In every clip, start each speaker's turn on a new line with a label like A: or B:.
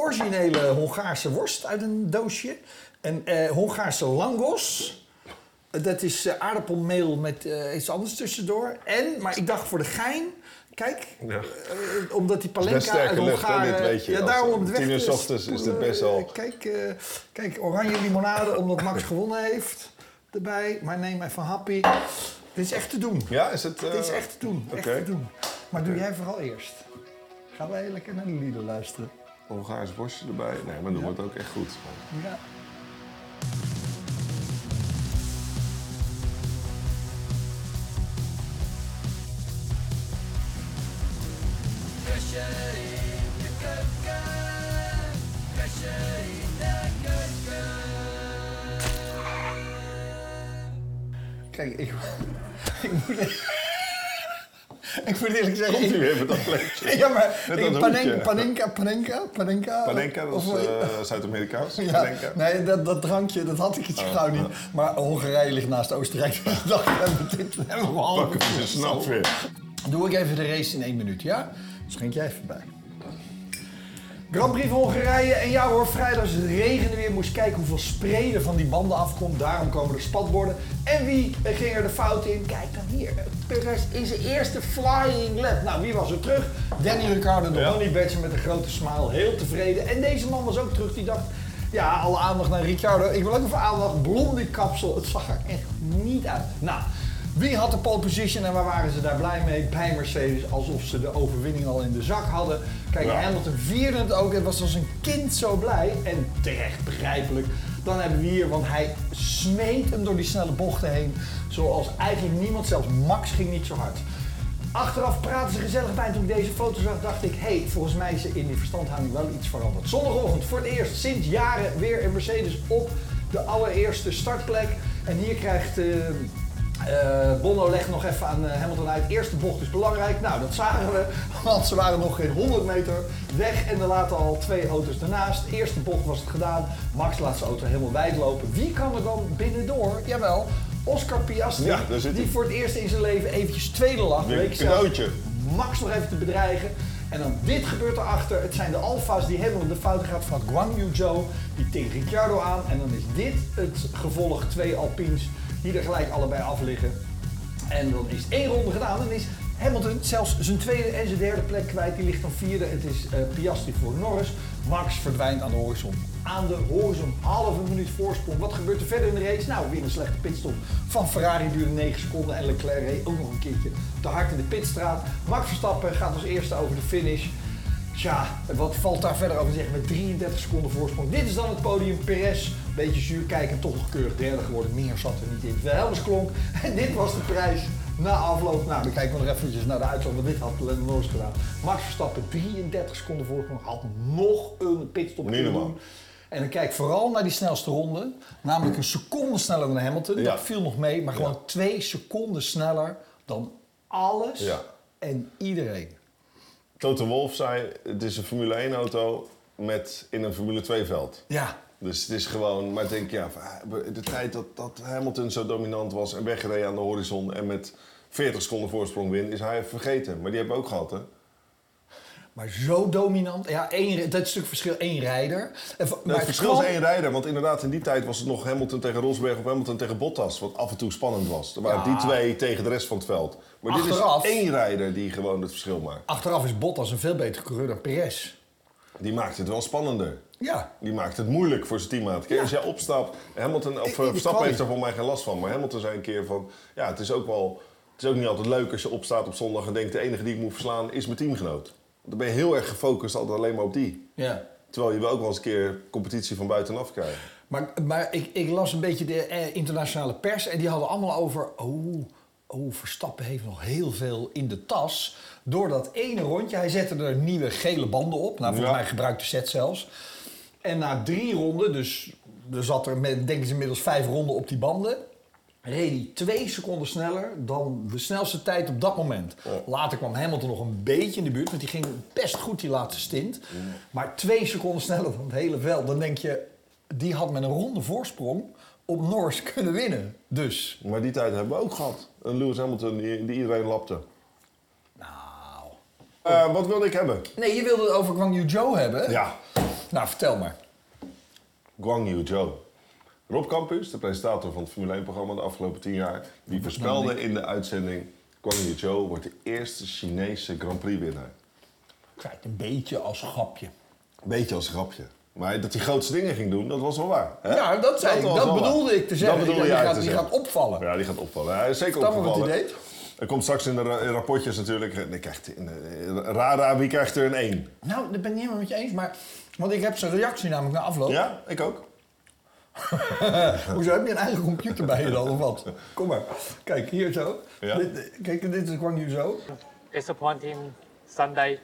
A: originele Hongaarse worst uit een doosje. Een eh, Hongaarse langos. Dat is eh, aardappelmeel met eh, iets anders tussendoor. En, maar ik dacht voor de gein... Kijk,
B: Ja.
A: eh, omdat die
C: Het is best
A: palenka uit
C: sterke lucht, hè,
A: Hongaar...
C: dit
A: eh,
C: weet je.
A: Ja,
C: Als
A: daarom
C: het
A: om het weg
C: tien uur
A: te
C: 's ochtends is dit best
A: spoelen.
C: al-
A: Kijk, eh, kijk, oranje limonade omdat Max gewonnen heeft erbij. Maar neem even happy. Dit is echt te doen.
C: Ja, is het... eh,
A: Dit is echt te doen. Echt
C: oké.
A: te doen. Maar doe jij vooral eerst. Gaan wij lekker naar de lieden luisteren.
C: Hongaars worstje erbij. Nee, maar doen we het ook echt goed.
A: Ja. Kijk, ik, ik moet... Ik moet eerlijk zeggen...
C: Komt
A: ik-
C: u even dat plekje.
A: ja, maar
C: Met
A: ik,
C: dat
A: panenka,
C: hoedje.
A: panenka, panenka, panenka.
C: Panenka, dat is
A: of-
C: eh, Zuid-Amerikaans.
A: ja,
C: Panenka. Oh,
A: nee, dat, dat drankje, dat had ik het zo gauw niet. Maar Hongarije ligt naast Oostenrijk. Dus ik dacht, we hebben dit we hebben we al.
C: Pakken we ze snel weer.
A: Doe ik even de race in één minuut, ja? Schenk jij even bij. Grand Prix van Hongarije. En ja hoor, vrijdag is het regende weer. Moest kijken hoeveel spray er van die banden afkomt. Daarom komen er spatborden. En wie eh, ging er de fout in? Kijk dan hier. Perez in zijn eerste flying lap. Nou, wie was er terug? Danny Ricciardo, de
C: Ja.
A: honey badger met een grote smile. Heel tevreden. En deze man was ook terug. Die dacht, ja, alle aandacht naar Ricciardo. Ik wil ook even aandacht. Blonde kapsel. Het zag er echt niet uit. Nou, wie had de pole position en waar waren ze daar blij mee? Bij Mercedes, alsof ze de overwinning al in de zak hadden. Kijk,
C: Ja.
A: Hamilton Hamilton vierde het ook en was als een kind zo blij. En terecht, begrijpelijk. Dan hebben we hier, want hij smeet hem door die snelle bochten heen. Zoals eigenlijk niemand, zelfs Max ging niet zo hard. Achteraf praten ze gezellig bij. En toen ik deze foto zag, dacht ik... hé, hey, volgens mij is er in die verstandhouding wel iets veranderd. Zondagochtend voor het eerst sinds jaren weer een Mercedes op de allereerste startplek. En hier krijgt... eh, eh, Bono legt nog even aan eh, Hamilton uit. Eerste bocht is belangrijk. Nou, dat zagen we, want ze waren nog geen 100 meter weg en er laten al twee auto's daarnaast. Eerste bocht was het gedaan. Max laat zijn auto helemaal wijd lopen. Wie kan er dan binnendoor? Jawel, Oscar Piastri,
C: Ja, daar zit
A: die
C: hij.
A: voor het eerst in zijn leven eventjes tweede lag.
C: Weer een
A: Leek zelf
C: cadeautje.
A: Max nog even te bedreigen. En dan dit gebeurt erachter. Het zijn de alfa's die helemaal in de fout gaat van Guang Yu Zhou. Die tegen Ricciardo aan. En dan is dit het gevolg. Twee Alpines die er gelijk allebei af liggen. En dan is één ronde gedaan. En is Hamilton zelfs zijn tweede en zijn derde plek kwijt. Die ligt dan vierde. Het is eh, Piastri voor Norris. Max verdwijnt aan de horizon. Aan de horizon. Halve minuut voorsprong. Wat gebeurt er verder in de race? Nou, weer een slechte pitstop van Ferrari duurde 9 seconden. En Leclerc reed ook nog een keertje te hard in de pitstraat. Max Verstappen gaat als eerste over de finish. Tja, wat valt daar verder over te zeggen met 33 seconden voorsprong. Dit is dan het podium. Perez, beetje zuur kijken, toch nog keurig derde geworden. Meer zat er niet in. Wilhelmus klonk en dit was de prijs na afloop. Nou, dan kijken we nog eventjes naar de uitslag, want dit had Lennon Norris gedaan. Max Verstappen, 33 seconden voorsprong, had nog een pitstop
C: Niet
A: kunnen
C: normaal.
A: doen. En dan kijk vooral naar die snelste ronde, namelijk een seconde sneller dan Hamilton.
C: Ja.
A: Dat viel nog mee, maar gewoon
C: Ja.
A: twee seconden sneller dan alles
C: Ja.
A: en iedereen.
C: Toto Wolf zei, het is een Formule 1 auto met, in een Formule 2 veld.
A: Ja,
C: Dus het is gewoon, maar ik denk ja, de tijd dat, dat Hamilton zo dominant was en wegreed aan de horizon en met 40 seconden voorsprong win, is hij even vergeten. Maar die hebben we ook gehad, hè?
A: Maar zo dominant. Ja, één, dat is natuurlijk verschil één rijder. En va-
C: Nou,
A: maar
C: het verschil
A: kwam-
C: is één rijder, want inderdaad in die tijd was het nog Hamilton tegen Rosberg of Hamilton tegen Bottas, wat af en toe spannend was. Er waren
A: Ja.
C: die twee tegen de rest van het veld. Maar
A: Achteraf-
C: dit is één rijder die gewoon het verschil maakt.
A: Achteraf is Bottas een veel betere coureur dan Perez.
C: Die maakt het wel spannender.
A: Ja.
C: Die maakt het moeilijk voor zijn teammaat. Kijk,
A: Ja.
C: Als jij opstapt, Hamilton,
A: In- in
C: of eh,
A: die
C: Verstappen heeft
A: quali.
C: er voor mij geen last van. Maar Hamilton zei een keer van, ja, het is ook wel, het is ook niet altijd leuk als je opstaat op zondag en denkt, de enige die ik moet verslaan is mijn teamgenoot. Dan ben je heel erg gefocust altijd alleen maar op die.
A: ja.
C: Terwijl je wel ook wel eens een keer competitie van buitenaf krijgt.
A: Maar, maar ik, ik las een beetje de eh, internationale pers en die hadden allemaal over... Oh, oh, Verstappen heeft nog heel veel in de tas. Door dat ene rondje, hij zette er nieuwe gele banden op. Nou, volgens
C: Ja.
A: mij gebruikte set zelfs. En na drie ronden, dus er zat er met, denk ik inmiddels vijf ronden op die banden... reed hij twee seconden sneller dan de snelste tijd op dat moment. Later kwam Hamilton nog een beetje in de buurt, want die ging best goed die laatste stint. Maar twee seconden sneller dan het hele veld. Dan denk je, die had met een ronde voorsprong op Norris kunnen winnen. Dus,
C: Maar die tijd hebben we ook gehad. Een Lewis Hamilton die, die iedereen lapte.
A: nou...
C: Eh, wat wilde ik hebben?
A: Nee, je wilde het over Guang Yu Zhou hebben.
C: Ja.
A: Nou, vertel maar.
C: Guangyu Zhou. Rob Campus, de presentator van het Formule 1-programma de afgelopen tien jaar, die voorspelde in de uitzending Guangyu Zhou wordt de eerste Chinese Grand Prix-winnaar.
A: Krijgt een beetje als grapje.
C: Beetje als grapje. Maar dat hij grootste dingen ging doen, dat was wel waar. hè?
A: Ja, dat zei ik.
C: was
A: Dat
C: wel waar.
A: bedoelde ik te zeggen.
C: Dat bedoelde
A: Die
C: jij
A: gaat-
C: te
A: die
C: zeggen.
A: gaat opvallen.
C: Ja, die gaat opvallen. Hij is zeker
A: Vertel me wat
C: opgevallen.
A: hij deed.
C: Er komt straks in de ra- in rapportjes natuurlijk. eh, nee, krijgt in, eh, Rara, wie krijgt er een 1?
A: Nou, dat ben ik niet helemaal met je eens, maar... Want ik heb zijn reactie namelijk na afloop.
C: Ja, ik ook.
A: Hoezo heb je een eigen computer bij je dan of wat? Kom maar. Kijk, hier zo.
C: Ja.
A: Dit, kijk, dit is gewoon hier zo.
B: disappointing Sunday.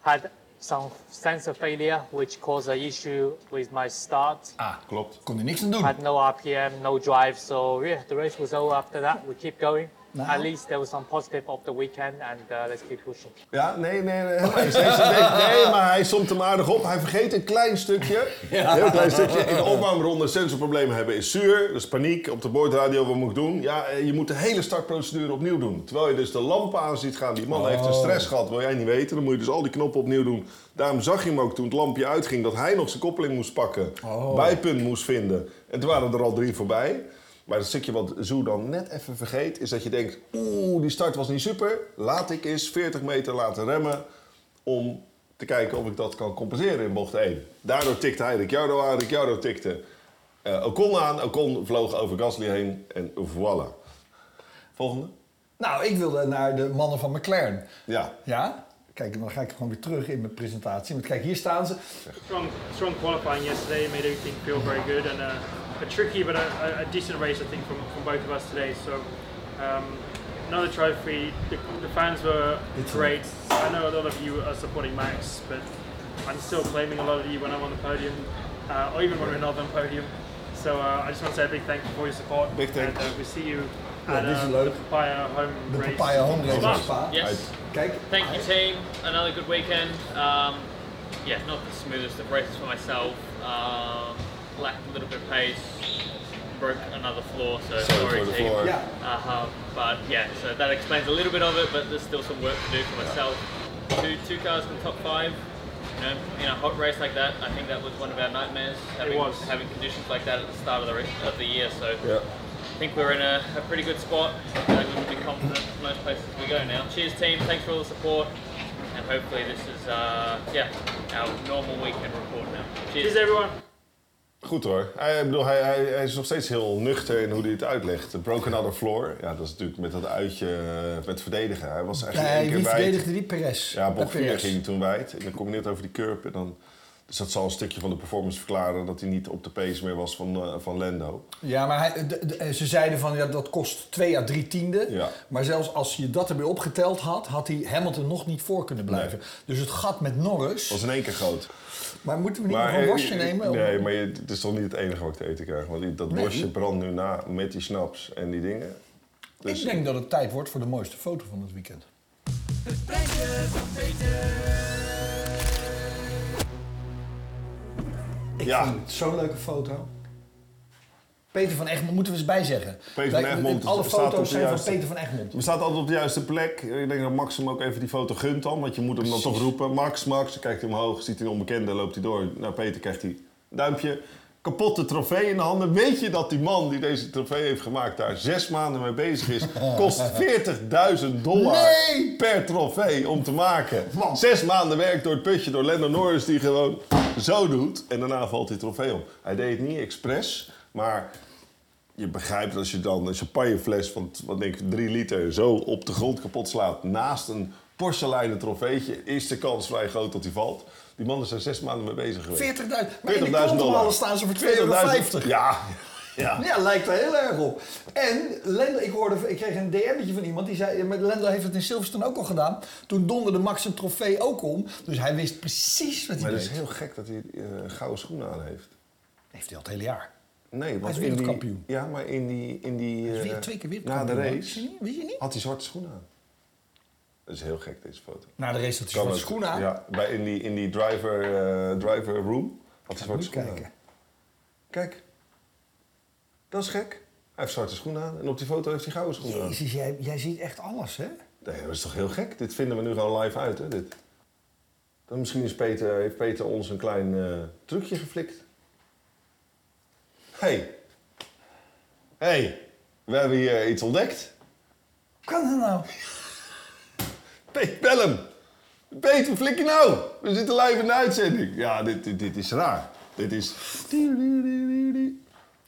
B: Had some sensor failure, which caused an issue with my start.
A: Ah,
C: Klopt.
A: kon er niks aan doen.
B: Had no RPM, no drive, so yeah, the race was over after that. We keep going.
A: Now?
B: At least there was some positive of the weekend, and uh, let's keep pushing.
C: Ja, nee, nee, nee. helemaal eens. Hij zei, nee, nee, maar hij somt hem aardig op. Hij vergeet een klein stukje. Een heel klein stukje. In de opwarmronde sensorproblemen hebben is zuur. Dus paniek op de boordradio. Wat moet ik doen? Ja, eh, je moet de hele startprocedure opnieuw doen. Terwijl je dus de lampen aan ziet gaan. Die man heeft een stress gehad. Wil jij niet weten? Dan moet je dus al die knoppen opnieuw doen. Daarom zag je hem ook toen het lampje uitging dat hij nog zijn koppeling moest pakken. Bijpunt moest vinden. En toen waren er al drie voorbij. Maar het stukje wat Zoe dan net even vergeet, is dat je denkt: oeh, die start was niet super. Laat ik eens 40 meter laten remmen om te kijken of ik dat kan compenseren in bocht 1. Daardoor tikte hij Ricciardo aan, Ricciardo tikte eh, Ocon aan, Ocon vloog over Gasly heen en voilà. Volgende?
A: Nou, ik wilde naar de mannen van McLaren.
C: Ja.
A: Ja? Kijk, dan ga ik gewoon weer terug in mijn presentatie. Want kijk, hier staan ze.
D: Strong, strong qualifying yesterday made everything feel very good and a, a tricky but a, a- a decent race I think from, from both of us today. So um, another trophy. The, the fans were great. I know a lot of you are supporting Max, but I'm still claiming a lot of you when I'm on the podium, uh, or even when we're not on the podium. So uh, I just want to say a big thank you for your support.
C: Big thank
D: And, uh, we see you
A: Yeah,
D: at
A: this is
D: um,
A: low.
D: the Papaya home
A: De
D: race.
A: Papaya Home Race
D: Spa.
A: in Spa.
E: Yes.
A: Kijk.
E: Thank you, team. Another good weekend. Um, yeah, not the smoothest of races for myself. Um, lacked a little bit of pace. Broke another floor, so
C: Sorry
E: sorry,
C: for the
E: team.
C: floor.
A: Ja.
E: Uh-huh. But yeah, so that explains a little bit of it, but there's still some work to do for myself. Two two cars in the top five. You know, in a hot race like that, I think that was one of our nightmares. Having,
D: was.
E: having conditions like that at the start of the race, of the year. So
C: Ja.
E: I think we're in a, a pretty good spot. Uh, we can be confident most places we go now. Cheers, team. Thanks for all the support. And hopefully this is, uh, yeah, our normal weekend report now. Cheers.
D: Cheers everyone.
C: Goed hoor. Hij, ik bedoel, hij, hij, hij is nog steeds heel nuchter in hoe hij het uitlegt. The broken other floor. Ja, dat is natuurlijk met dat uitje eh, met verdedigen. Hij was eigenlijk één
A: Nee,
C: keer
A: wie
C: wijd.
A: verdedigde die? Perez.
C: Ja, bocht
A: Eh, Perez.
C: 4 ging toen wijd. En dan kom je net over die curb. En dan, dus dat zal een stukje van de performance verklaren dat hij niet op de pace meer was van, eh, van Lando.
A: Ja, maar hij, de- de- ze zeiden van ja, dat kost 2 à 3 tienden.
C: Ja.
A: Maar zelfs als je dat erbij opgeteld had, had hij Hamilton nog niet voor kunnen blijven. Dus het gat met Norris.
C: was in één keer groot.
A: Maar moeten we niet nog
C: Maar,
A: een
C: eh,
A: wasje nemen?
C: Nee, maar je, het is toch niet het enige wat ik te eten krijg. Want die- dat
A: Nee.
C: worstje brandt nu na met die snaps en die dingen. Dus
A: Ik denk dat het tijd wordt voor de mooiste foto van het weekend. Ik
C: Ja.
A: vind het zo'n leuke foto. Peter van Egmond moeten we eens bijzeggen.
C: van
A: Wij-
C: Egmond
A: Alle
C: staat op de
A: foto's zijn van
C: juiste-
A: Peter van Egmond.
C: We staat altijd op de juiste plek. Ik denk dat Max hem ook even die foto gunt dan. Want je moet hem dan toch roepen. Max, Max. Dan kijkt hij omhoog, ziet hij een onbekende, loopt hij door. Naar Peter krijgt hij een duimpje. Kapotte trofee in de handen. Weet je dat die man die deze trofee heeft gemaakt daar zes maanden mee bezig is? Kost 40.000 dollar
A: Nee!
C: per trofee om te maken.
A: Man.
C: Zes maanden werk door het putje door Lando Norris die gewoon zo doet. En daarna valt die trofee om. Hij deed het niet expres, maar je begrijpt als je dan een champagnefles van wat denk ik, drie liter zo op de grond kapot slaat naast een porseleinen trofeetje, is de kans vrij groot dat hij valt. Die man is er zes maanden mee bezig
A: 40.000.
C: geweest.
A: Maar in de
C: 40.000
A: krantenballen staan ze voor 2,50
C: 40.000 Ja, ja.
A: Ja, lijkt er heel erg op. En Lendo, ik, hoorde, ik kreeg een DM'tje van iemand die zei... Maar Lendo heeft het in Silverstone ook al gedaan. Toen donderde Max een trofee ook om. Dus hij wist precies wat hij
C: Maar het
A: deed.
C: is heel gek dat hij eh, gouden schoenen aan heeft.
A: Heeft hij al het hele jaar.
C: Nee, want
A: is
C: in die-
A: wereldkampioen.
C: ja, maar in die... In die
A: Hij is
C: eh,
A: weer twee keer
C: Na
A: wereldkampioen,
C: de
A: man. Wist je
C: race
A: niet? Wist je niet?
C: had hij zwarte schoenen aan. Dat is heel gek, deze foto.
A: Na de race had hij zwarte
C: Kan ook.
A: schoenen aan.
C: Ja, bij, in die, in die driver, eh, driver room had hij zwarte
A: Moet
C: schoenen
A: kijken.
C: aan. Kijk, dat is gek. Hij heeft zwarte schoenen aan en op die foto heeft hij gouden schoenen aan.
A: Jezus, jij, jij ziet echt alles, hè?
C: Nee, dat is toch heel gek? Dit vinden we nu gewoon live uit, hè? Dit. Dan misschien is Peter, heeft Peter ons een klein eh, trucje geflikt. hey. hey. we hebben hier iets ontdekt.
A: Kan dat nou?
C: Pe- bel hem. Peter, flik je nou. We zitten live in de uitzending. Ja, dit, dit, dit is raar. Dit is...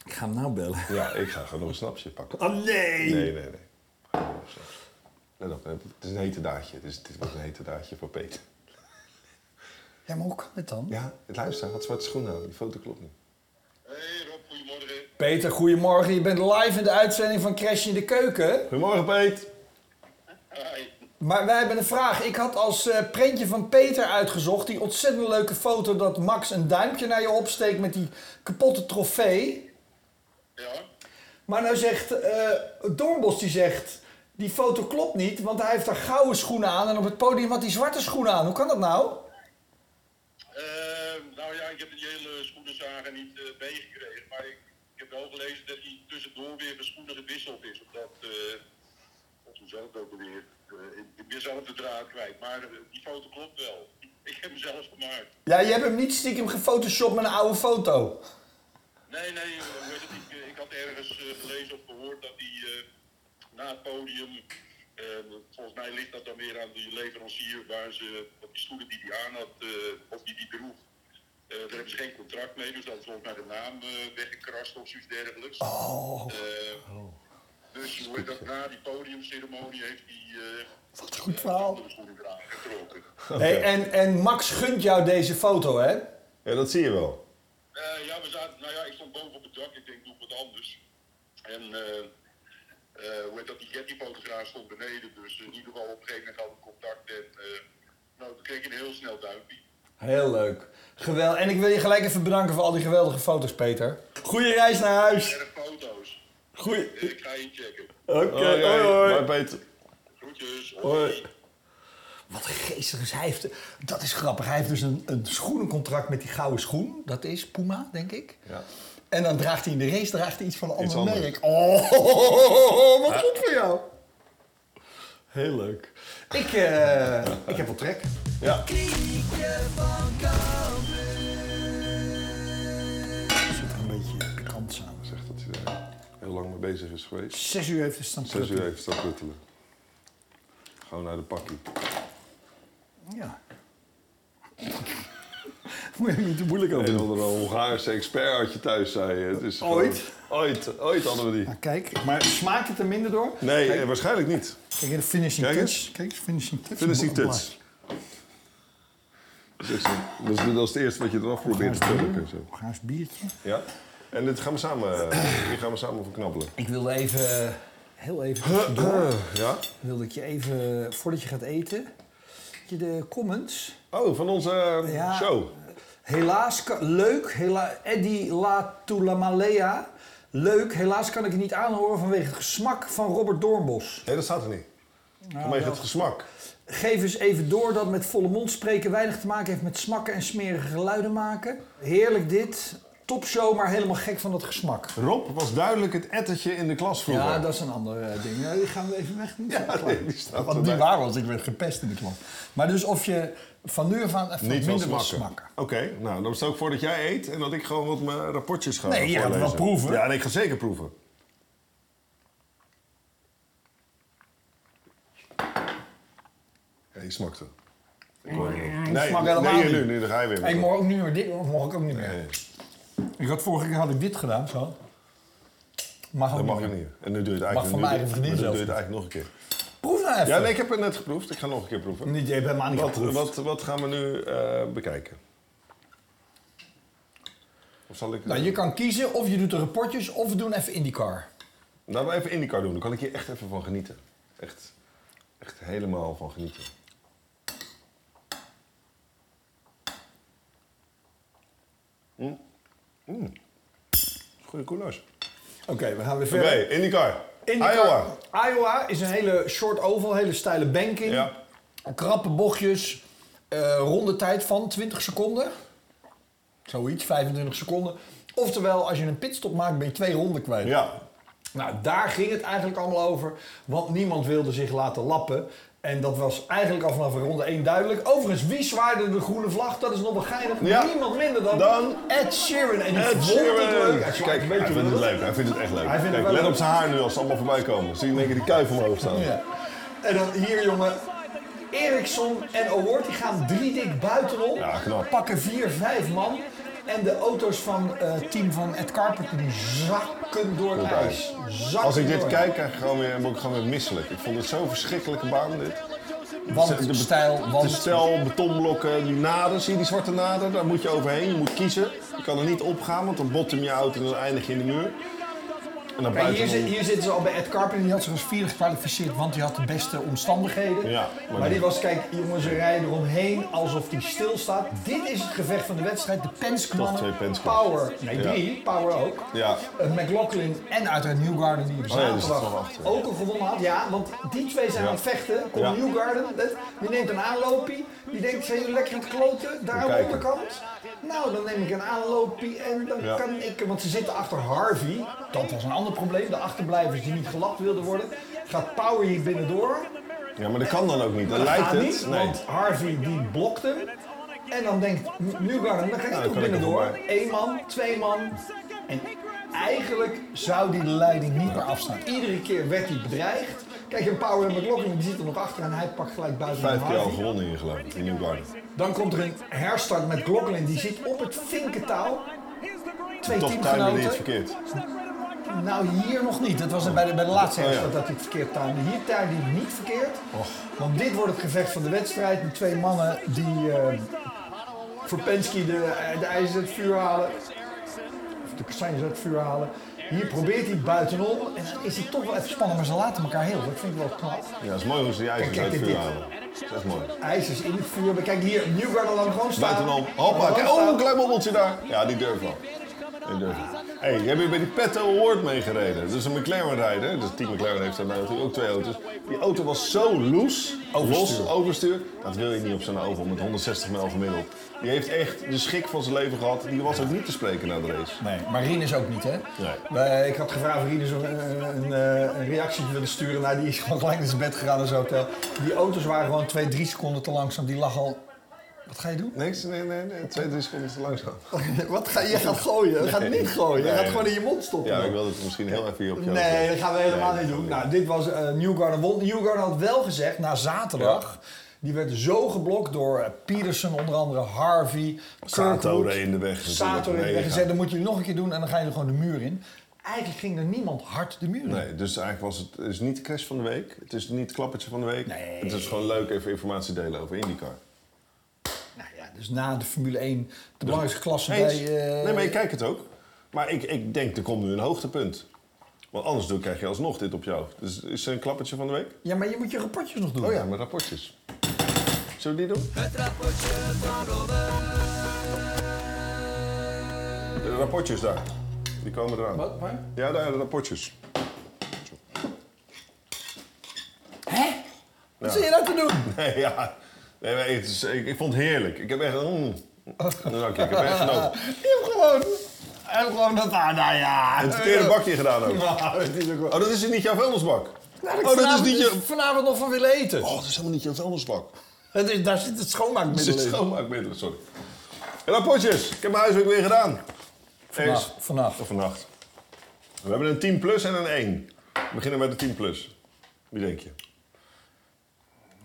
A: Ik ga hem nou bellen.
C: Ja, ik ga gewoon nog een snapsje pakken.
A: Oh nee!
C: Nee, nee, nee. Ga gewoon nog een snapsje. Let op, eh, het is een hete daadje. Het, is, dit was een hete daadje voor Peter.
A: Ja, maar hoe kan dit dan?
C: Ja, het luister, hij had zwarte schoenen aan. Die foto klopt niet.
F: Hey Rob, goedemorgen.
A: Peter, goedemorgen. Je bent live in de uitzending van Crash in de Keuken.
C: Goedemorgen, Peet.
F: Hi.
A: Maar wij hebben een vraag. Ik had als eh, prentje van Peter uitgezocht die ontzettend leuke foto dat Max een duimpje naar je opsteekt met die kapotte trofee.
F: Ja?
A: Maar nou zegt eh Doornbos, die zegt, die foto klopt niet, want hij heeft daar gouden schoenen aan en op het podium had hij zwarte schoenen aan. Hoe kan dat nou?
F: Ehm, nou ja, ik heb die hele schoenenzagen niet eh, meegekregen, maar ik, ik heb wel gelezen dat hij tussendoor weer van schoenen gewisseld is. Omdat, eh, dat hoe zat het ook alweer, Eh, ik ik ben zelf de draad kwijt, maar eh, die foto klopt wel. Ik heb hem zelf gemaakt.
A: Ja, je hebt hem niet stiekem gefotoshopt met een oude foto.
F: Nee, nee, eh, hoe heet het, ik, eh, ik had ergens eh, gelezen of gehoord dat hij eh, na het podium, eh, volgens mij ligt dat dan weer aan die leverancier waar ze, op die schoenen die hij aan had, eh, of die die droeg, eh, daar hebben ze geen contract mee, dus dat is volgens mij de naam eh, weggekrast of zoiets dergelijks.
A: Oh,
F: Eh, Dus hoe heet dat, na die podiumceremonie heeft hij eh
A: wat een goed
F: andere
A: verhaal.
F: schoenen eraan getrokken.
A: Hey, en, en Max gunt jou deze foto, hè?
C: Ja, dat zie je wel.
F: Eh, ja, we zaten, nou ja, ik stond boven op het dak. Ik denk, doe wat anders. En eh, eh, hoe heet dat, die Getty-fotograaf stond beneden. Dus in ieder geval op een gegeven moment hadden we contact. En eh, nou, toen kreeg ik een heel snel duimpje.
A: Heel leuk. Geweldig. En ik wil je gelijk even bedanken voor al die geweldige foto's, Peter. Goeie reis naar huis.
F: Erg foto's.
A: Goeie.
F: Eh, ik ga inchecken.
A: Oké,
C: Hoi,
A: hoi, hoi.
C: Hoi, Peter.
F: Groetjes.
C: Hoi.
A: Wat geestig. Dus hij heeft, dat is grappig. Hij heeft dus een, een schoenencontract met die gouden schoen. Dat is Puma, denk ik.
C: Ja.
A: En dan draagt hij in de race draagt hij iets van een
C: Iets
A: ander
C: anders.
A: merk. Oh, wat goed voor jou. Heel leuk. Ik, eh, ik heb wel trek.
C: Ja.
A: Er zit er een beetje pikant samen.
C: Zegt dat hij daar heel lang mee bezig is geweest.
A: Zes uur heeft het staan
C: Zes uur
A: plukken.
C: even staan pruttelen. Gewoon naar de pakkie.
A: Ja. Moet je niet te moeilijk over
C: Een
A: doen.
C: of andere Hongaarse expert had je thuis, zei je. Het is gewoon-
A: Ooit?
C: Ooit. Ooit hadden we die.
A: Nou, kijk, maar smaakt het er minder door?
C: Nee,
A: Kijk,
C: eh, waarschijnlijk niet.
A: kijk de finishing
C: Kijk eens.
A: touch. Kijk eens, finishing touch.
C: Finishing touch. Dat is, dat is- dat is het eerste wat je eraf probeert te drukken. Zo.
A: Gaars biertje.
C: Ja? En dit gaan we samen, eh, hier gaan we samen voor knabbelen.
A: Ik wilde even, heel even door.
C: Ja?
A: wilde ik je even, voordat je gaat eten, dat je de comments.
C: Oh, van onze eh,
A: Ja.
C: show.
A: Helaas, ka- leuk, hela, Eddie Latulamalea. Leuk, helaas kan ik het niet aanhoren vanwege het gesmak van Robert Doornbos.
C: Nee, dat staat er niet.
A: Nou,
C: Vanwege het gesmak.
A: Geef eens even door dat met volle mond spreken weinig te maken heeft met smakken en smerige geluiden maken. Heerlijk dit. Topshow, maar helemaal gek van dat gesmak.
C: Rob was duidelijk het ettertje in de klas vroeger.
A: Ja, dat is een ander eh, ding. Nou, die gaan we even weg.
C: Ja, nee, die staat
A: Want die
C: erbij.
A: waar was, ik werd gepest in de klas. Maar dus of je van nu af aan even
C: Niet
A: wat
C: wel
A: minder wil
C: smakken.
A: smakken.
C: Oké, nou dan stel ik voor dat jij eet en dat ik gewoon wat mijn rapportjes ga
A: Nee, je gaat
C: voorlezen.
A: wel proeven.
C: Ja, nee, ik ga zeker proeven. Ja, je smaakt het. Ik hoor het niet. Nee,
A: smaakt helemaal
C: nee,
A: niet.
C: nu, nu, dan ga je weer.
A: Hey, ik mocht ook niet meer dit, of mocht ik ook niet meer.
C: Nee,
A: Ik had vorige keer had ik dit gedaan, zo. Mag ook
C: dat mag
A: niet
C: je
A: meer.
C: niet. En nu doe je het eigenlijk,
A: Mag van
C: nu
A: mijn
C: doe-
A: eigen vriendin
C: nu doe
A: zelfs
C: je het eigenlijk nog een keer.
A: Proef nou even.
C: Ja, nee, ik heb het net geproefd. Ik ga nog een keer proeven.
A: Niet, je hebt helemaal niet
C: Wat,
A: geproefd.
C: wat, wat gaan we nu eh, bekijken? Of zal ik...
A: Nou, je kan kiezen of je doet de rapportjes of we doen even IndyCar.
C: Laten we even Indica doen. Dan kan ik hier echt even van genieten. Echt, echt helemaal van genieten. Mm. Mm. Goeie koelers.
A: Oké, we gaan weer
C: Oké,
A: verder.
C: Indica.
A: IndyCar.
C: Iowa.
A: Iowa is een hele short oval, hele steile banking.
C: Ja.
A: Krappe bochtjes. eh ronde tijd van 20 seconden. Zoiets, 25 seconden. Oftewel, als je een pitstop maakt, ben je twee ronden kwijt.
C: Ja.
A: Nou, daar ging het eigenlijk allemaal over. Want niemand wilde zich laten lappen. En dat was eigenlijk al vanaf ronde 1 duidelijk. Overigens, wie zwaarde de groene vlag? Dat is nog wel geinig.
C: Ja.
A: Niemand minder dan,
C: Dan
A: Ed Sheeran. En die
C: Ed
A: vond het
C: Sheeran.
A: leuk. Hij zwaait
C: Kijk,
A: een beetje
C: hij vindt het
A: lullig.
C: leuk. Hij vindt het echt leuk.
A: Hij vindt het
C: Kijk,
A: wel
C: let
A: leuk.
C: op zijn haar nu als ze allemaal voorbij komen. Zie je in één keer die kuif omhoog staan.
A: Oh Ja. En dan hier, jongen. Eriksson en Award die gaan drie dik buitenop.
C: Ja, knap.
A: Pakken vier, vijf man. En de auto's van eh, het team van Ed Carpenter die zakken door het
C: Goed uit.
A: ijs. Zakken
C: Als ik dit
A: door.
C: kijk, krijg ik gewoon weer, word ik gewoon weer misselijk. Ik vond het zo'n verschrikkelijke baan, dit.
A: Want
C: be-
A: stijl,
C: de
A: want...
C: stijl, betonblokken, die naden, zie je die zwarte naden? Daar moet je overheen, je moet kiezen. Je kan er niet op gaan, want dan bottom je uit en dan eindig je in de muur. En dan
A: Kijk, hier,
C: buiten...
A: zit- hier zitten ze al bij Ed Carpenter. Die had zich als vierde gekwalificeerd, want die had de beste omstandigheden.
C: Ja,
A: maar,
C: maar
A: die
C: niet.
A: was, kijk, jongens, ze rijden eromheen alsof die stilstaat. Dit is het gevecht van de wedstrijd. De Penske mannen,
C: twee Penske.
A: Power, nee,
C: Ja.
A: drie, Power ook.
C: Ja. Oh
A: Eh, McLaughlin en uiteraard Newgarden die op
C: ja, die zit
A: zaterdag
C: er wel achter.
A: ook al gewonnen had. Ja, want die twee zijn
C: Ja.
A: aan het vechten. Komt
C: Ja.
A: Newgarden, dat- die neemt een aanloopie. Die denkt, zijn jullie lekker aan het kloten? Daar aan de
C: kijken.
A: onderkant. Nou, dan neem ik een aanloopie en dan
C: Ja.
A: kan ik... Want ze zitten achter Harvey. Dat was een ander probleem. De achterblijvers die niet gelapt wilden worden. Gaat Power hier binnendoor.
C: Ja, maar dat kan dan ook niet. Dat
A: Dat
C: lijkt
A: gaat
C: het.
A: niet,
C: nee.
A: want Harvey die blokt hem. En dan denkt Newgarden, dan ga
C: Ja,
A: ik
C: Nou,
A: toch
C: dan kan ik er
A: binnendoor.
C: voorbij.
A: Eén man, twee man. En eigenlijk zou die de leiding niet meer afstaan. Iedere keer werd hij bedreigd. Kijk, en Power en McLaughlin die zitten er nog achter en hij pakt gelijk buiten
C: Vijf keer al
A: Harvey.
C: gewonnen hier, geloof ik, in Newgarden.
A: Dan komt er een herstart met Glocklin. Die zit op het vinkentouw. Twee
C: Toch timen die het
A: teamgenoten.
C: verkeerd.
A: Nou, hier nog niet. Dat was bij de, bij de laatste
C: Oh, ja.
A: herstart dat hij het verkeerd tuimde. Hier tuimde hij niet verkeerd. Want dit wordt het gevecht van de wedstrijd. Met twee mannen die eh voor Penske de, de ijzers uit het vuur halen. Of de kastanjes uit het vuur halen. Hier probeert hij buitenom. En dan is het toch wel even spannend. Maar ze laten elkaar heel. Dat vind ik wel knap.
C: Ja, dat is mooi hoe ze die ijzers
A: Kijk,
C: uit het
A: dit-
C: vuur
A: dit.
C: halen. Dat is echt mooi.
A: IJzers in het vuur. Maar Kijk hier, Newgarden laat hem gewoon staan.
C: Buitenom.
A: Laat
C: Hoppa.
A: hem
C: Kijk,
A: gewoon
C: oh,
A: staan.
C: een klein bobbeltje daar. Ja, die durft wel. Die durft wel. Hé, hey, jij bent bij die Petto Award meegereden. Dat is een McLaren-rijder. Dus Team McLaren heeft daar natuurlijk ook twee auto's. Die auto was zo loose, los, overstuur. Dat wil je niet op zo'n oval met 160 mijl gemiddeld. Die heeft echt de schik van zijn leven gehad. Die was ook niet te spreken na de race.
A: Nee, maar Rien is ook niet, hè?
C: Nee.
A: Wij- ik had gevraagd of Rien eens een, een, eh, een reactie wilde sturen. Nou, die is gewoon gelijk naar zijn bed gegaan in zijn hotel. Die auto's waren gewoon twee, drie seconden te langzaam. Die lag al... Wat ga je doen?
C: Niks, nee, nee, nee. Twee, drie seconden te langzaam.
A: Wat ga, je gaat gooien. Je gaat niet gooien. Je
C: Nee.
A: gaat gewoon in je mond stoppen.
C: Ja, ik wilde het misschien heel even hier op je
A: Nee, dat gaan we helemaal
C: Nee,
A: niet doen.
C: dat
A: Nou, dit was eh Newgarden won. Newgarden had wel gezegd, na zaterdag... Die werd zo geblokt door eh, Peterson, onder andere Harvey,
C: Sato
A: Kirkwood.
C: reed in de weg. natuurlijk.
A: Sato in de
C: Nee,
A: weg
C: ja.
A: gezet. Dan moet je nog een keer doen en dan ga je er gewoon de muur in. Eigenlijk ging er niemand hard de muur in.
C: Nee, dus eigenlijk was het, het is niet de crash van de week. Het is niet het klappertje van de week.
A: Nee.
C: Het is gewoon leuk even informatie delen over IndyCar.
A: Nou ja, dus na de Formule 1, de belangrijkste klasse
C: Eens?
A: bij... eh,
C: Nee, maar ik kijk het ook. Maar ik, ik denk, er komt nu een hoogtepunt. Want anders doe, krijg je alsnog dit op jou. Dus is er een klappertje van de week?
A: Ja, maar je moet je rapportjes nog doen.
C: Oh ja, met rapportjes. Zullen we die doen? Het rapportje van De rapportjes daar. Die komen eraan.
A: Wat? Waar?
C: Ja, daar, de rapportjes.
A: Hè? Wat zit je nou te doen?
C: Nee, ja. Nee, maar het is- ik, ik vond het heerlijk. Ik heb echt... Mm. Dank je, ik heb echt genoten.
A: Je hebt gewoon... Hij heeft gewoon dat aan, nou ja.
C: Het verkeerde bakje gedaan ook.
A: Nou, dat is ook wel...
C: Oh, dat is niet jouw vuilnisbak.
A: Nou,
C: oh, dat is
A: vanavond-
C: niet jouw...
A: Vanavond nog van willen eten.
C: Oh, dat is helemaal niet jouw vuilnisbak.
A: Dat is, daar zit het
C: Dat is
A: schoonmaakmiddel in.
C: schoonmaakmiddel, sorry. Rapportjes, ik heb mijn huiswerk weer gedaan. Eens.
A: Vannacht, vannacht.
C: Of vannacht. We hebben een 10 plus en een 1. We beginnen met de 10 plus. Wie denk je?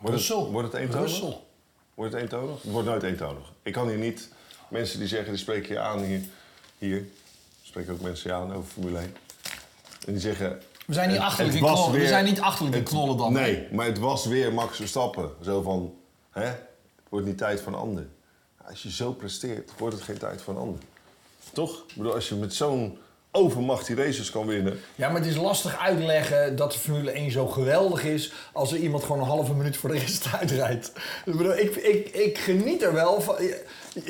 C: Wordt
A: Russell.
C: het, wordt het eentonig?
A: Russell.
C: Wordt het eentonig? Het wordt nooit eentonig. Ik kan hier niet... Mensen die zeggen, die spreken je aan hier. Hier spreken ook mensen je aan over Formule 1. En die zeggen...
A: We zijn niet
C: het-
A: achterlijk
C: het
A: in
C: was
A: knollen. We
C: weer-
A: zijn niet achterlijk in
C: het-
A: knollen dan.
C: Nee, maar het was weer Max Verstappen. Zo van, hè, het wordt niet tijd voor een ander. Als je zo presteert, wordt het geen tijd voor een ander. Toch? Ik bedoel, als je met zo'n overmacht die races kan winnen...
A: Ja, maar het is lastig uitleggen dat de Formule 1 zo geweldig is als er iemand gewoon een halve minuut voor de rest uitrijdt. Ik, bedoel, ik, ik, ik geniet er wel van. Je,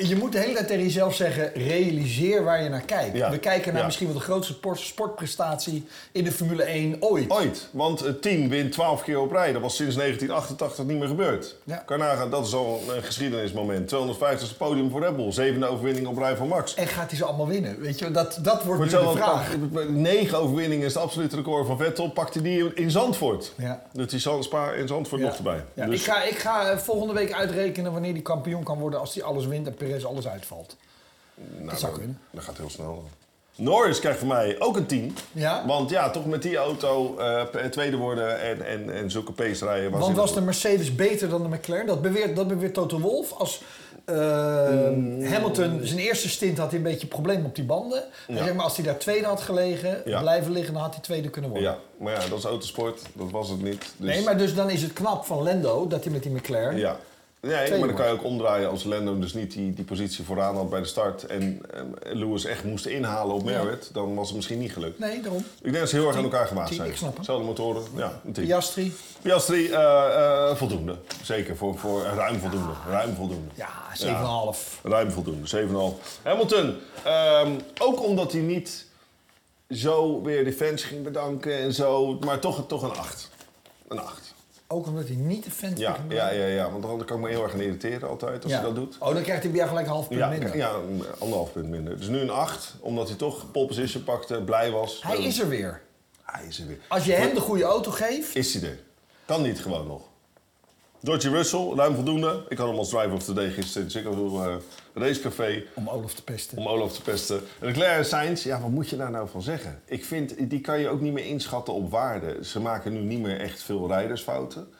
A: je moet de hele tijd tegen jezelf zeggen, realiseer waar je naar kijkt.
C: Ja,
A: We kijken naar
C: ja.
A: misschien wel de grootste sport- sportprestatie in de Formule 1 ooit.
C: Ooit, want het team wint 12 keer op rij. Dat was sinds 1988 niet meer gebeurd.
A: Ja.
C: Carnaga, dat is al een geschiedenismoment. 250ste podium voor Red Bull, zevende overwinning op rij van Max.
A: En gaat hij ze allemaal winnen? Weet je, dat, dat wordt
C: Voor
A: nu Eh, de
C: hetzelfde
A: vraag.
C: pakt- Negen overwinningen is het absolute record van Vettel. Pakte die in Zandvoort.
A: Ja.
C: Dat is Zand- Spa en Zandvoort nog erbij.
A: Ja,
C: Dus-
A: ik, ga, ik ga eh, volgende week uitrekenen wanneer die kampioen kan worden als hij alles wint en Perez alles uitvalt.
C: Nou,
A: dat zou kunnen.
C: Dat gaat heel snel dan. Norris krijgt van mij ook een 10.
A: Ja?
C: Want ja, toch met die auto eh, p- tweede worden en, en, en zulke pace rijden. Was
A: Want
C: hij
A: was de Mercedes beter dan de McLaren? Dat beweert, dat beweert Toto Wolff. Als eh, Hamilton zijn eerste stint had hij een beetje probleem op die banden. Hij
C: Mm. Ja.
A: zegt, maar als hij daar tweede had gelegen,
C: Ja.
A: blijven liggen, dan had hij tweede kunnen worden.
C: Ja, maar ja, dat is autosport. Dat was het niet. Dus,
A: Nee, maar dus dan is het knap van Lando dat hij met die McLaren...
C: Ja. Nee,
A: Tweede
C: maar dan kan je ook omdraaien als Lando dus niet die, die positie vooraan had bij de start. En eh, Lewis echt moest inhalen op Merritt. Dan was het misschien niet gelukt.
A: Nee, daarom.
C: Ik denk dat ze heel erg aan elkaar gewaagd
A: Tien,
C: zijn.
A: ik snap het.
C: Zelfde motoren. Ja, een 10.
A: Piastri.
C: Piastri, eh, eh, voldoende. Zeker, voor, voor ruim voldoende. Ruim voldoende.
A: Ja, 7,5.
C: Ruim voldoende, 7,5. Hamilton, ehm, ook omdat hij niet zo weer de fans ging bedanken en zo, maar toch, toch een 8. Een 8.
A: Ook omdat hij niet de fan
C: Ja, ja, ja, ja, want dan kan ik me heel erg aan irriteren altijd als
A: Ja.
C: hij dat doet.
A: Oh, dan krijgt hij bij jou gelijk een half punt
C: Ja,
A: minder.
C: ja, een anderhalf punt minder. Dus nu een 8, omdat hij toch pole position pakte, blij was.
A: Hij
C: Eh,
A: is er weer.
C: Hij is er weer.
A: Als je hem de goede auto geeft...
C: Is hij er? Kan niet gewoon nog. Georgie Russell, ruim voldoende. Ik had hem als driver of the day gisteren in Ziggo eh, Racecafé.
A: Om Olaf te pesten.
C: om Olaf te pesten. Leclerc en Sainz, ja, wat moet je daar nou van zeggen? Ik vind, die kan je ook niet meer inschatten op waarde. Ze maken nu niet meer echt veel rijdersfouten.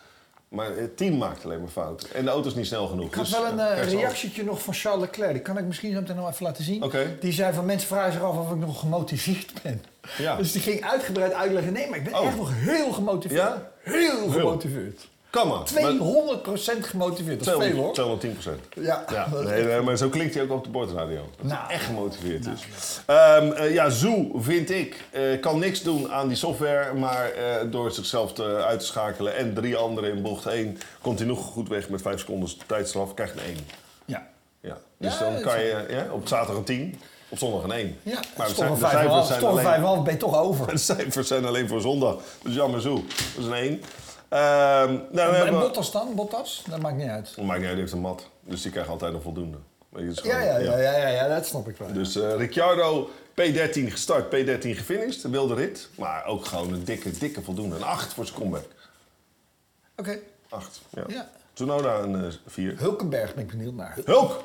C: Maar het team maakt alleen maar fouten. En de auto is niet snel genoeg. Dus,
A: Ik had wel een eh, reactietje nog van Charles Leclerc. Die kan ik misschien zo meteen nog even laten zien.
C: Oké.
A: Die zei van mensen vragen zich af of ik nog gemotiveerd ben.
C: Ja.
A: Dus die ging uitgebreid uitleggen. Nee, maar ik ben
C: Oh.
A: echt nog heel gemotiveerd.
C: Ja?
A: Heel gemotiveerd.
C: Kan maar.
A: 200% gemotiveerd. Dat is veel hoor.
C: 210 procent.
A: Ja.
C: ja nee, nee, maar zo klinkt hij ook op de bordradio. Dat hij
A: Nou.
C: echt gemotiveerd is. Ehm, eh, ja, Zoo vind ik eh, kan niks doen aan die software. Maar eh, door zichzelf te, uit te schakelen en drie anderen in bocht 1... komt hij nog goed weg met vijf seconden tijdstraf. Krijgt een 1.
A: Ja.
C: Ja. Dus
A: Ja,
C: dan
A: het
C: kan
A: is-
C: je ja, op zaterdag een 10, op zondag een 1.
A: Ja,
C: maar
A: maar
C: de,
A: is
C: cij-
A: toch
C: de
A: een
C: cijfers
A: 5,5.
C: zijn
A: Toch een
C: alleen,
A: 5,5 ben je toch over.
C: de cijfers zijn alleen voor zondag. Dat is jammer zo. Dat is een 1. Ehm nou, we
A: En
C: hebben...
A: Bottas dan? Bottas? Dat maakt niet uit.
C: Maar nee, die heeft een mat. Dus die krijgt altijd een voldoende. Weet je, dat is
A: Ja,
C: gewoon-
A: ja, ja, ja, ja, ja, dat snap ik wel.
C: Dus eh, Ricciardo, P13 gestart, P13 gefinished. Een wilde rit. Maar ook gewoon een dikke, dikke voldoende. Een 8 voor zijn comeback.
A: Oké.
C: 8. Ja.
A: Ja.
C: Tsunoda een eh, 4.
A: Hulkenberg ben ik benieuwd naar.
C: Hulk!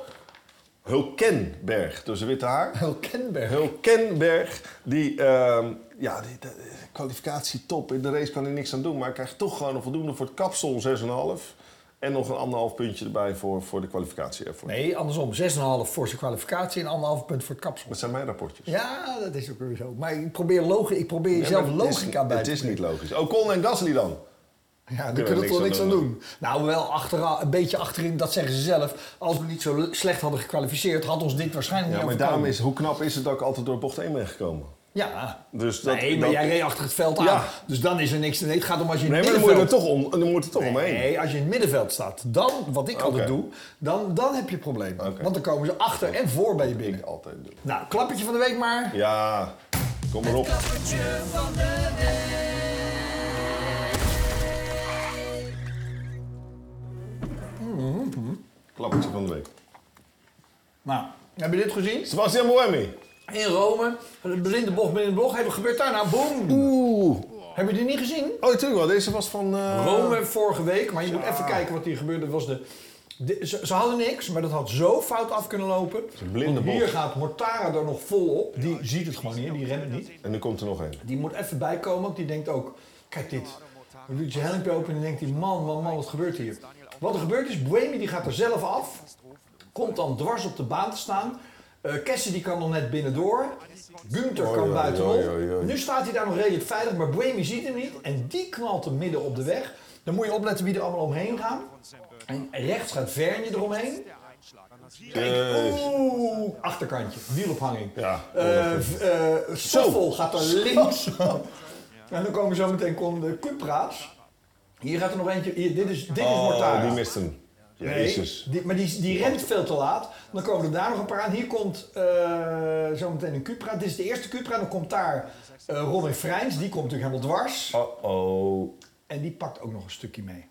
C: Hulkenberg, door zijn witte haar.
A: Hulkenberg.
C: Hulkenberg, die, ehm, ja, die de, de kwalificatie top. In de race kan hij niks aan doen, maar hij krijgt toch gewoon een voldoende voor het kapsel, 6,5. En nog een anderhalf puntje erbij voor, voor de kwalificatie ervoor.
A: Nee, andersom. 6,5 voor zijn kwalificatie en 1,5 punt voor het kapsel.
C: Dat zijn mijn rapportjes.
A: Ja, dat is ook weer zo. Maar ik probeer, logi ik probeer jezelf
C: maar het is-
A: logica bij
C: Het
A: te
C: is niet
A: brengen.
C: logisch. Ocon en Gasly dan?
A: Ja, daar
C: Kunnen
A: kunnen
C: we
A: we toch
C: niks
A: niks
C: aan
A: aan doen. Nou, wel achteraan, een beetje achterin, dat zeggen ze zelf. Als we niet zo le- slecht hadden gekwalificeerd, had ons dit waarschijnlijk
C: Ja,
A: niet
C: maar
A: overkomen.
C: daarom is, hoe knap is het dat ik altijd door bocht 1 ben gekomen?
A: Ja.
C: Dus dat-
A: nee, maar
C: dat-
A: jij reed achter het veld aan.
C: Ja.
A: Dus dan is er niks te doen. Het gaat om als je in
C: Nee,
A: het
C: maar dan moet je er
A: middenveld...
C: toch, om, dan moet er toch omheen.
A: Nee, als je in het middenveld staat, dan, wat ik altijd
C: Oké.
A: doe, dan, dan heb je problemen.
C: Oké.
A: Want dan komen ze achter en voor bij je
C: Ik
A: binnen.
C: altijd doen.
A: Nou, klappertje van de week maar.
C: Ja, kom maar op. Klappertje van de week.
A: Nou, heb je dit gezien?
C: Sebastian Boemi.
A: In Rome, een blinde bocht binnen de bocht. Hey, wat gebeurt daar nou? Boom!
C: Oeh.
A: Heb je die niet gezien?
C: Oh, natuurlijk wel. Deze was van... eh,
A: Rome vorige week, maar je moet even kijken wat hier gebeurde. Dat Was de, de- ze, ze hadden niks, maar dat had zo fout af kunnen lopen.
C: een blinde
A: Want Hier
C: bocht.
A: gaat Mortara er nog vol op. Die ziet het gewoon niet, die remt niet.
C: En nu komt er nog één.
A: Die moet even bijkomen, want die denkt ook, kijk dit. Dan doet je helmpje open en dan denkt hij, man, man, man, wat gebeurt hier? Wat er gebeurt is, Buemi die gaat er zelf af. Komt dan dwars op de baan te staan. Eh Kessen die kan nog net binnendoor. Gunther
C: Oei,
A: kan
C: oei,
A: buitenop.
C: oei, oei.
A: Nu staat hij daar nog redelijk veilig, maar Buemi ziet hem niet. En die knalt hem midden op de weg. Dan moet je opletten wie er allemaal omheen gaan. En rechts gaat Vernje eromheen.
C: Jezus.
A: oh. Oeh, achterkantje, wielophanging.
C: Ja.
A: Eh, v- eh, Stoffel gaat er links. En dan komen zo meteen kon de Cupra's. Hier gaat er nog eentje. Hier, dit is, dit is Mortara.
C: Oh, die mist hem.
A: Nee,
C: Jezus.
A: die- maar die, die rent veel te laat. Dan komen er daar nog een paar aan. Hier komt eh zo meteen een Cupra. Dit is de eerste Cupra. Dan komt daar eh Robin Vrijns. Die komt natuurlijk helemaal
C: Oh.
A: dwars.
C: Uh-oh.
A: En die pakt ook nog een stukje mee.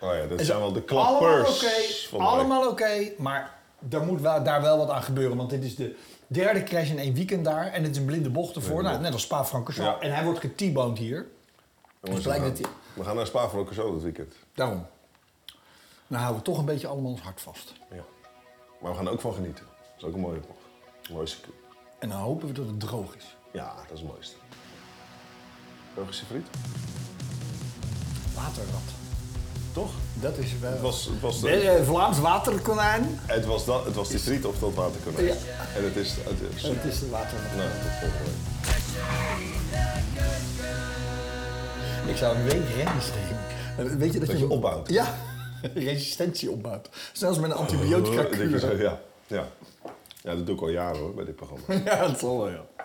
C: Oh ja, dat zijn wel de
A: Allemaal
C: klappers.
A: oké,
C: van de week.
A: allemaal oké, maar daar moet wa- daar wel wat aan gebeuren. Want dit is de derde crash in één weekend daar. En het is een blinde bocht ervoor. Nou, net als Spa-Francorchamps.
C: Ja.
A: En hij wordt geteaboned hier.
C: Jongens,
A: blijkt
C: we,
A: dat
C: gaan, we gaan naar Spa voor zo dit weekend.
A: Daarom. Nou houden we toch een beetje allemaal ons hart vast.
C: Ja. Maar we gaan er ook van genieten. Dat is ook een mooie bocht. Een mooie circuit.
A: En dan hopen we dat het droog is.
C: Ja, dat is het mooiste. Belgische friet?
A: Waterrat.
C: Toch?
A: Dat is wel...
C: Het was, het was, de-
A: Eh, eh, Vlaams waterkonijn.
C: het was, dat, het was die friet of dat waterkonijn.
A: Ja.
C: En het is... Het is
A: Het is de waterrat.
C: Nou, tot volgende week.
A: Ik zou een week rennen steken. Eh, Weet je dat,
C: je opbouwt.
A: Ja, resistentie opbouwt. Zelfs met een antibiotica
C: Oh, Dat je zo-
A: kuur.
C: Ja, ja. ja, dat doe ik al jaren hoor, bij dit programma.
A: Ja, dat zal wel, ja.